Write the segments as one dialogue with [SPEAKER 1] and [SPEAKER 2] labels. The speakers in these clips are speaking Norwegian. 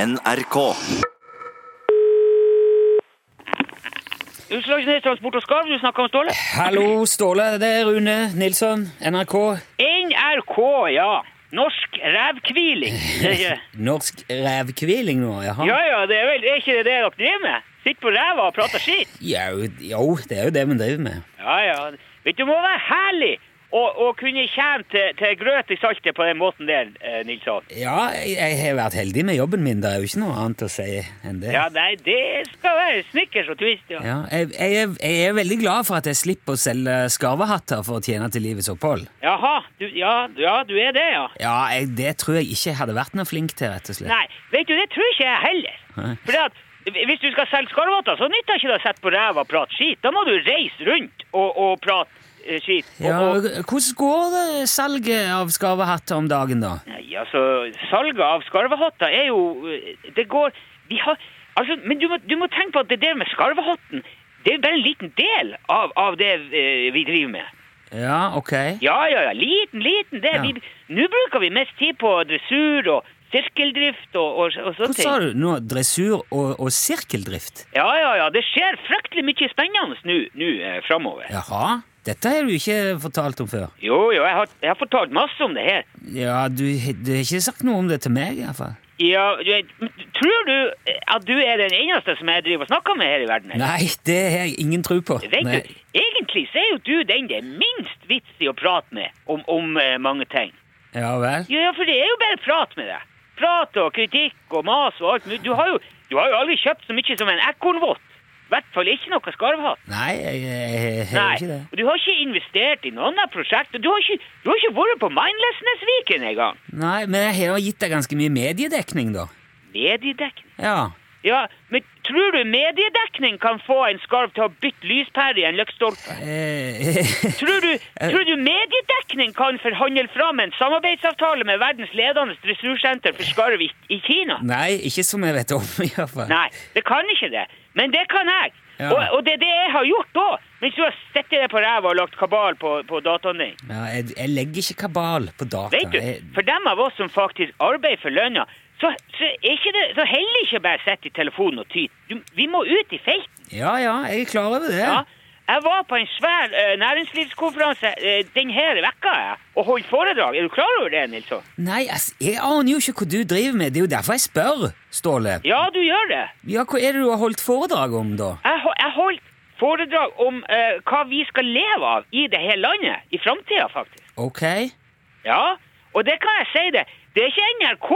[SPEAKER 1] NRK.
[SPEAKER 2] Utslagsnes Transport og Skarv, du snakker om Ståle?
[SPEAKER 3] Hallo, Ståle. Det er Rune Nilsson, NRK.
[SPEAKER 2] NRK, ja. Norsk revkviling. Det er ikke-
[SPEAKER 3] Norsk revkviling nå, jaha?
[SPEAKER 2] Ja ja, det er vel er ikke det det dere driver med? Sitter på ræva og prater skit?
[SPEAKER 3] Jo, jo, det er jo det vi driver med.
[SPEAKER 2] Ja ja. Vet du, det må være herlig å, å kunne tjene til, til grøt i saltet på den måten der, eh, Nilsson.
[SPEAKER 3] Ja, jeg, jeg har vært heldig med jobben min. Det er jo ikke noe annet å si enn det.
[SPEAKER 2] Ja, nei, det skal være snickers og twist, ja.
[SPEAKER 3] Ja, jeg, jeg, er- jeg er veldig glad for at jeg slipper å selge skarvehatter for å tjene til livets opphold.
[SPEAKER 2] Jaha, du, ja, ja, du er det, ja.
[SPEAKER 3] Ja, jeg, Det tror jeg ikke jeg hadde vært noe flink til, rett og slett.
[SPEAKER 2] Nei, vet du, det tror ikke jeg heller.
[SPEAKER 3] Nei.
[SPEAKER 2] Fordi at hvis du skal selge skarvåter, så nytter ikke det å sette på ræva og prate skit. Da må du reise rundt og, og prate eh, skit. Og,
[SPEAKER 3] Ja,
[SPEAKER 2] og,
[SPEAKER 3] hvordan går det salget av skarvehatter om dagen, da?
[SPEAKER 2] nei, altså, salget av skarvehatter er jo eh, Det går Vi har Altså, men du må, du må tenke på at det der med skarvehatten, det er jo bare en liten del av, av det eh, vi driver med.
[SPEAKER 3] Ja, ok.
[SPEAKER 2] Ja, ja, ja. Liten, liten del.
[SPEAKER 3] Ja.
[SPEAKER 2] Vi- Nå bruker vi mest tid på dressur og sirkeldrift og, og, og sånne
[SPEAKER 3] Hva
[SPEAKER 2] ting.
[SPEAKER 3] sa du nå? Dressur og, og sirkeldrift?
[SPEAKER 2] Ja, ja, ja. Det skjer fryktelig mye spennende nå, nå eh, framover.
[SPEAKER 3] Jaha, dette har du ikke fortalt om før.
[SPEAKER 2] Jo, jo, jeg har, jeg har fortalt masse om det her.
[SPEAKER 3] Ja, du, du har ikke sagt noe om det til meg, iallfall.
[SPEAKER 2] Ja, du vet, men tror du eh, at du er den eneste som jeg driver og snakker med her i verden? eller?
[SPEAKER 3] Nei, det har jeg ingen tro på.
[SPEAKER 2] Vet
[SPEAKER 3] Nei.
[SPEAKER 2] du, egentlig så er jo du den det er minst vits i å prate med om, om eh, mange ting.
[SPEAKER 3] Ja vel.
[SPEAKER 2] Jo, ja, for det er jo bare prat med deg. Prat og kritikk og mas og alt mulig. Du har jo, du har jo aldri kjøpt så mye som en ekornvott. I hvert fall ikke noe skarvhatt.
[SPEAKER 3] Nei, jeg, jeg, jeg har
[SPEAKER 2] Nei,
[SPEAKER 3] ikke det.
[SPEAKER 2] og du har ikke investert i noen av prosjektene. Du har ikke, du har ikke vært på Mindlessness-viken engang.
[SPEAKER 3] Nei, Men jeg har gitt deg ganske mye mediedekning, da.
[SPEAKER 2] Mediedekning.
[SPEAKER 3] Ja.
[SPEAKER 2] Ja, men tror du mediedekning kan få en skarv til å bytte lyspære i en løkkstolpe?
[SPEAKER 3] Eh,
[SPEAKER 2] Tror du, tror du mediedekning kan forhandle fram en samarbeidsavtale med verdens ledende dressursenter for skarv i, i Kina?
[SPEAKER 3] Nei, ikke som jeg vet om, iallfall.
[SPEAKER 2] Nei, det kan ikke det. Men det kan jeg.
[SPEAKER 3] Ja.
[SPEAKER 2] Og, og det er det jeg har gjort òg, mens du har sittet deg på ræva og lagt kabal på, på dataen din.
[SPEAKER 3] Ja, jeg, jeg legger ikke kabal på data.
[SPEAKER 2] Vet du,
[SPEAKER 3] Jeg,
[SPEAKER 2] for dem av oss som faktisk arbeider for lønna, så, så, er ikke det, så heller ikke bare sitte i telefonen og tyte. Du- Vi må ut i felten.
[SPEAKER 3] ja, ja, jeg er klar over det.
[SPEAKER 2] Ja. Jeg var på en svær eh, næringslivskonferanse eh, denne vekka jeg, og holdt foredrag. Er du klar over det, Nilsson?
[SPEAKER 3] Nei, altså, jeg aner jo ikke hva du driver med. Det er jo derfor jeg spør, Ståle.
[SPEAKER 2] Ja, du gjør det.
[SPEAKER 3] Ja, Hva er det du har holdt foredrag om, da?
[SPEAKER 2] Jeg, ho- jeg holdt foredrag om eh, hva vi skal leve av i det her landet i framtida, faktisk.
[SPEAKER 3] Ok?
[SPEAKER 2] Ja, og det kan jeg si det. Det er ikke NRK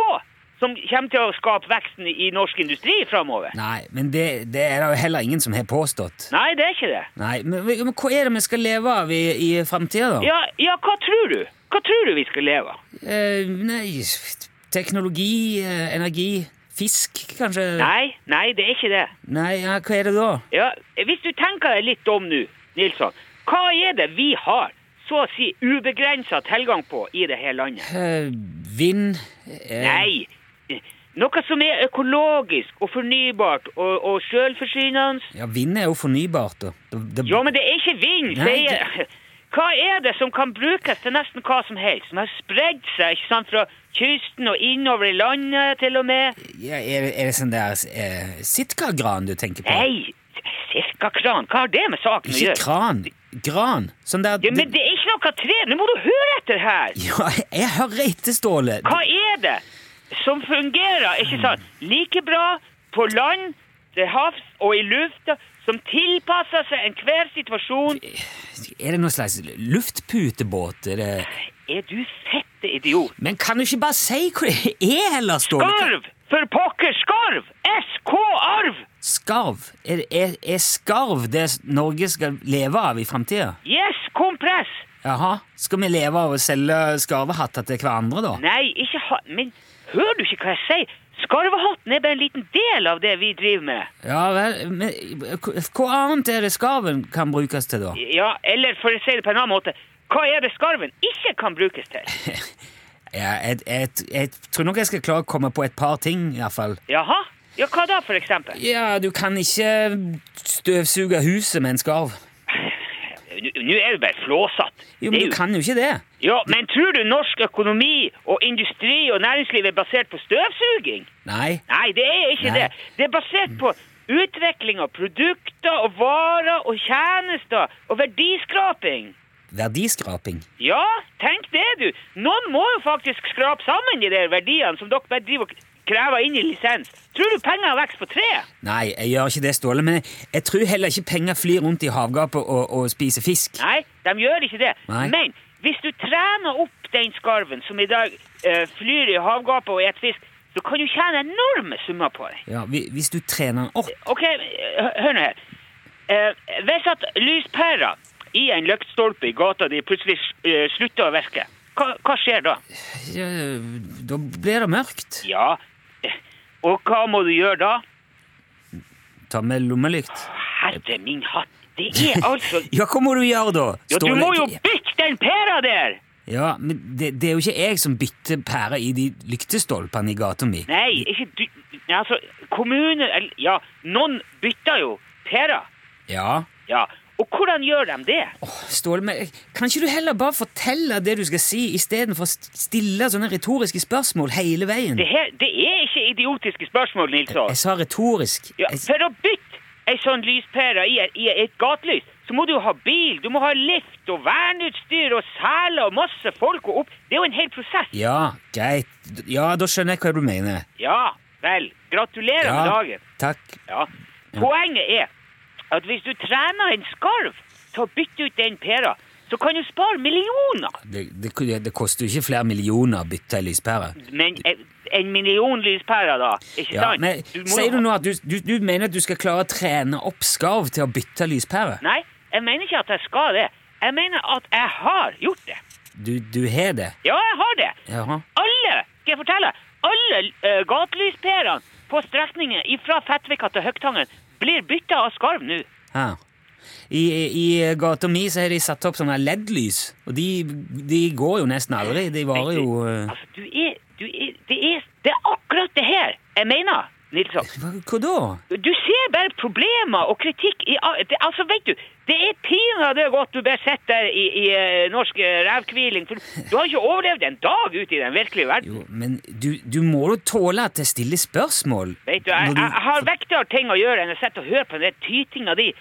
[SPEAKER 2] som kommer til å skape veksten i i norsk industri framover.
[SPEAKER 3] Nei, men det, det er det jo heller ingen som har påstått.
[SPEAKER 2] Nei, det er ikke det.
[SPEAKER 3] Nei, men, men hva er det vi skal leve av i, i framtida, da?
[SPEAKER 2] Ja, ja, hva tror du? Hva tror du vi skal leve av?
[SPEAKER 3] Eh, nei, teknologi, eh, energi, fisk, kanskje?
[SPEAKER 2] Nei, nei, det er ikke det.
[SPEAKER 3] Nei, ja, hva er det da?
[SPEAKER 2] Ja, hvis du tenker deg litt om nå, Nilsson. Hva er det vi har så å si ubegrensa tilgang på i det her landet?
[SPEAKER 3] Eh, vind eh,
[SPEAKER 2] Nei. Noe som er økologisk og fornybart og, og sjølforsynende.
[SPEAKER 3] Ja, vind er jo fornybart, da. Det- det-
[SPEAKER 2] Ja, men det er ikke vind.
[SPEAKER 3] Nei,
[SPEAKER 2] Det er, hva er det som kan brukes til nesten hva som helst? Som har spredd seg ikke sant, fra kysten og innover i landet til og med.
[SPEAKER 3] ja, er, det- er det sånn der eh, sitkagran du tenker på?
[SPEAKER 2] Nei, sirkakran. Hva har det med saken å
[SPEAKER 3] Ikke
[SPEAKER 2] gjøre?
[SPEAKER 3] kran. Gran. Sånn der
[SPEAKER 2] Ja, men det er ikke noe tre. Nå må du høre etter her.
[SPEAKER 3] Ja, jeg hører etter, Ståle.
[SPEAKER 2] Hva er det som fungerer,
[SPEAKER 3] Mm.
[SPEAKER 2] ikke sant, like bra på land, til havs og i lufta, som tilpasser seg enhver situasjon?
[SPEAKER 3] Er det noen slags luftputebåt? Er det...
[SPEAKER 2] Er du fette idiot?
[SPEAKER 3] Men kan du ikke bare si hva det er heller, Ståle?
[SPEAKER 2] Skarv! For pokker, skarv! SK-arv!
[SPEAKER 3] Skarv? Er, er, er skarv det Norge skal leve av i framtida?
[SPEAKER 2] Yes, kompress!
[SPEAKER 3] Jaha, skal vi leve av å selge skarvehatter til hverandre, da?
[SPEAKER 2] Nei, ikke ha... Men hører du ikke hva jeg sier? Skarvehatten er bare en liten del av det vi driver med.
[SPEAKER 3] Ja vel, men hva hva annet er det skarven kan brukes til, da?
[SPEAKER 2] Ja, eller for å si det på en annen måte, hva er det skarven ikke kan brukes til?
[SPEAKER 3] Ja, jeg, jeg, jeg tror nok jeg skal klare å komme på et par ting, iallfall.
[SPEAKER 2] Jaha? Ja, hva da, for eksempel?
[SPEAKER 3] Ja, du kan ikke støvsuge huset med en skarv.
[SPEAKER 2] Nå nå er du bare flåsatt.
[SPEAKER 3] Jo, men
[SPEAKER 2] Det er
[SPEAKER 3] du
[SPEAKER 2] jo-
[SPEAKER 3] kan jo ikke det.
[SPEAKER 2] Ja, men tror du norsk økonomi og industri og næringsliv er basert på støvsuging?
[SPEAKER 3] Nei.
[SPEAKER 2] Nei, det er ikke
[SPEAKER 3] Nei.
[SPEAKER 2] det. Det er basert på utvikling av produkter og varer og tjenester og verdiskraping.
[SPEAKER 3] Verdiskraping.
[SPEAKER 2] Ja, tenk det, du. Noen må jo faktisk skrape sammen de der verdiene som dere bare driver og krever inn i lisens. Tror du penger vokser på tre?
[SPEAKER 3] Nei, jeg gjør ikke det, Ståle, men jeg tror heller ikke penger flyr rundt i havgapet og, og spiser fisk.
[SPEAKER 2] Nei, de gjør ikke det.
[SPEAKER 3] Nei.
[SPEAKER 2] Men hvis du trener opp den skarven som i dag eh, flyr i havgapet og spiser fisk, så kan du tjene enorme summer på det.
[SPEAKER 3] Ja, hvi- Hvis du trener den opp
[SPEAKER 2] OK, hø- hør nå her. Eh, hvis at lyspæra i en lyktstolpe i gata di plutselig eh, slutter å virke, hva, hva skjer da?
[SPEAKER 3] ja, Da blir det mørkt.
[SPEAKER 2] Ja, eh, og hva må du gjøre da?
[SPEAKER 3] Ta med lommelykt.
[SPEAKER 2] Herre min hatt, det er altså
[SPEAKER 3] Ja, hva må du gjøre da?
[SPEAKER 2] Ja, du
[SPEAKER 3] Ståle?
[SPEAKER 2] må jo bytte den pæra der!
[SPEAKER 3] Ja, men det, det er jo ikke jeg som bytter pærer i de lyktestolpene i gata mi.
[SPEAKER 2] Nei, ikke du Nei, Altså, kommuner eller- Ja, noen bytter jo pærer.
[SPEAKER 3] Ja.
[SPEAKER 2] Ja. Og hvordan gjør de det?
[SPEAKER 3] Åh, Ståle, men kan ikke du heller bare fortelle det du skal si, istedenfor å st- stille sånne retoriske spørsmål hele veien?
[SPEAKER 2] Det, her, det er ikke idiotiske spørsmål, Nilsson.
[SPEAKER 3] Jeg sa retorisk.
[SPEAKER 2] Ja,
[SPEAKER 3] Jeg-
[SPEAKER 2] for å bytte ei sånn lyspære i, et- i et gatelys, så må du jo ha bil, du må ha lift og verneutstyr og seler og masse folk og opp Det er jo en hel prosess.
[SPEAKER 3] Ja, greit. D- Ja, da skjønner jeg hva du mener.
[SPEAKER 2] Ja vel. Gratulerer med
[SPEAKER 3] Ja,
[SPEAKER 2] dagen.
[SPEAKER 3] takk.
[SPEAKER 2] Ja. Poenget er at hvis du trener en skarv til å bytte ut den pæra, så kan du spare millioner.
[SPEAKER 3] Det, det, det koster jo ikke flere millioner å bytte ei lyspære.
[SPEAKER 2] Men en- en million lyspærer, da? Ikke
[SPEAKER 3] Ja,
[SPEAKER 2] sant?
[SPEAKER 3] men
[SPEAKER 2] må
[SPEAKER 3] Sier
[SPEAKER 2] jo-
[SPEAKER 3] du nå at du, du, du mener at du skal klare å trene opp skarv til å bytte lyspære?
[SPEAKER 2] Nei, jeg mener ikke at jeg skal det. Jeg mener at jeg har gjort det.
[SPEAKER 3] Du, du har det?
[SPEAKER 2] Ja, jeg har det.
[SPEAKER 3] Jaha.
[SPEAKER 2] Alle, skal jeg fortelle, alle uh, gatelyspærene på strekningen fra Fettvika til Høgtangen blir bytta av skarv nå.
[SPEAKER 3] Her. I, i gata mi så har de satt opp sånne LED-lys, og de, de går jo nesten aldri. De varer jo eh,
[SPEAKER 2] Altså, du er, du er, det er Det er akkurat det her jeg mener, Nilsson.
[SPEAKER 3] Hva hva da?
[SPEAKER 2] Du ser bare problemer og kritikk i a- det, Altså, vet du, det er pinadø godt du bare sitter der i, i eh, norsk eh, rævhviling, for du har ikke overlevd en dag ute i den virkelige verden.
[SPEAKER 3] Jo, men du, du må jo tåle at jeg stiller spørsmål.
[SPEAKER 2] Vet du, jeg,
[SPEAKER 3] Når
[SPEAKER 2] jeg har viktigere ting å gjøre enn å sitte og høre på den tytinga di.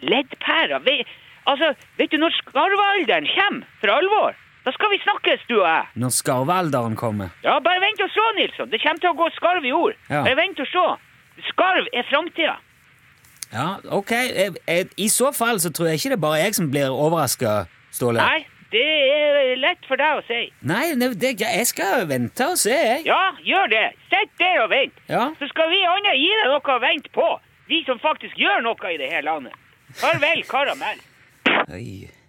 [SPEAKER 2] Leddpæra. Ve- Altså, vet du, når skarvealderen kommer for alvor, da skal vi snakkes, du og jeg.
[SPEAKER 3] Når skarvealderen kommer.
[SPEAKER 2] Ja, bare vent og se, Nilsson. Det kommer til å gå skarv i jord.
[SPEAKER 3] Ja.
[SPEAKER 2] Bare vent og se. Skarv er framtida.
[SPEAKER 3] Ja, ok. eh, eh, I så fall så tror jeg ikke det er bare jeg som blir overraska, Ståle.
[SPEAKER 2] Nei, det er lett for deg å si.
[SPEAKER 3] Nei, det, det, er greit. jeg skal vente og se, jeg.
[SPEAKER 2] Ja, gjør det. Sett der og vent.
[SPEAKER 3] Ja.
[SPEAKER 2] Så skal vi andre gi deg noe å vente på. Vi som faktisk gjør noe i det her landet. Farvel, karamell.
[SPEAKER 3] Oi.